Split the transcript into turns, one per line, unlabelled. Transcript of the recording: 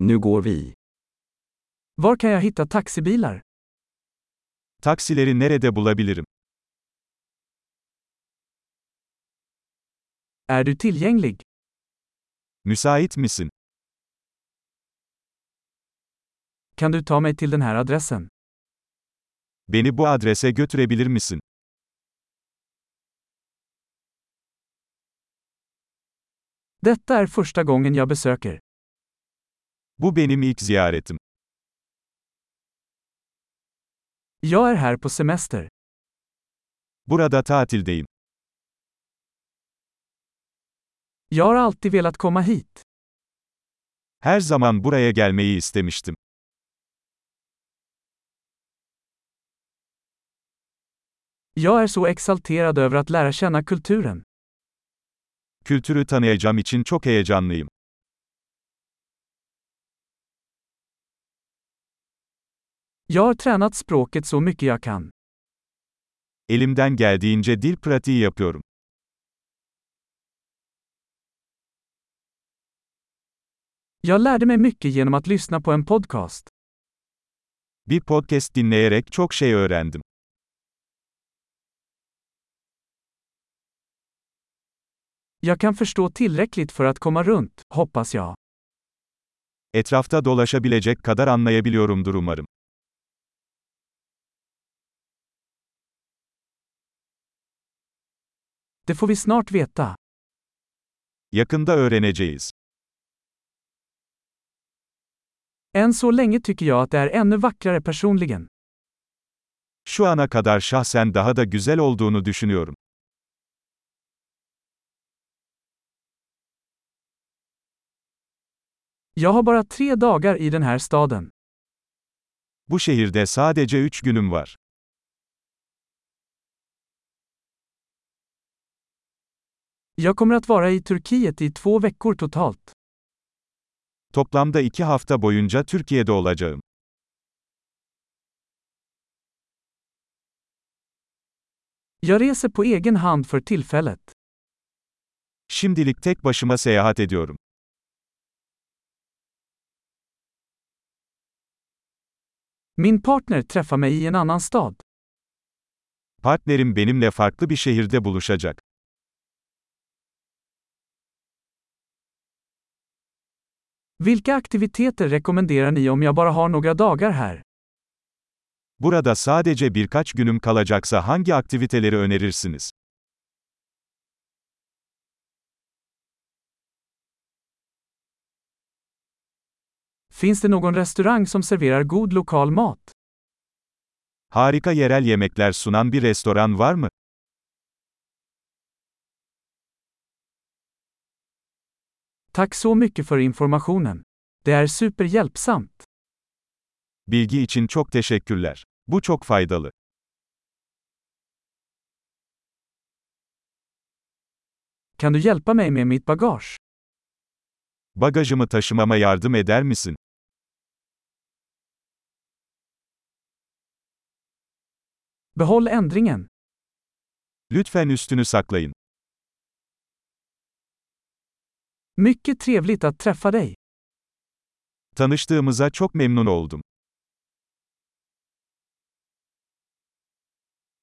Nu går vi.
Var kan jag hitta taxibilar?
Taksileri nerede bulabilirim?
Är du tillgänglig?
Müsait misin?
Kan du ta mig till den här adressen?
Beni bu adrese götürebilir misin?
Detta är första gången jag besöker.
Bu benim ilk ziyaretim.
Jag är här på semester.
Burada tatildeyim.
Jag har alltid velat komma hit.
Her zaman buraya gelmeyi istemiştim.
Jag är så exalterad över att lära känna kulturen.
Kültürü tanıyacağım için çok heyecanlıyım.
Jag har tränat språket så mycket jag kan.
Elimden geldiğince dil pratiği yapıyorum.
Jag lärde mig mycket genom att lyssna på en podcast.
Bir podcast dinleyerek çok şey öğrendim.
Jag kan förstå tillräckligt för att komma runt, hoppas jag.
Etrafta dolaşabilecek kadar anlayabiliyorumdur umarım.
Det får vi snart veta.
Yakında öğreneceğiz.
Än så länge tycker jag att det är ännu vackrare personligen.
Şu ana kadar şahsen daha da güzel olduğunu düşünüyorum.
Jag har bara tre dagar i den här staden.
Bu şehirde sadece 3 günüm var.
Jag kommer att vara i Turkiet i två veckor totalt.
Toplamda 2 hafta boyunca Türkiye'de olacağım.
Jag reser på egen hand för tillfället.
Şimdilik tek başıma seyahat ediyorum.
Min partner träffar mig i en annan stad.
Partnerim benimle farklı bir şehirde buluşacak.
Vilka aktiviteter rekommenderar ni om jag bara har några dagar här?
Burada sadece birkaç günüm kalacaksa hangi aktiviteleri önerirsiniz?
Finns det någon restaurang som serverar god lokal mat?
Harika yerel yemekler sunan bir restoran var mı?
Tack så mycket för informationen. Det är superhjälpsamt.
Bilgi için çok teşekkürler. Bu çok faydalı.
Kan du hjälpa mig med mitt bagage?
Bagajımı taşımama yardım eder misin?
Behåll ändringen.
Lütfen üstünü saklayın.
Mycket trevligt att träffa dig.
Tanıştığımıza çok memnun oldum.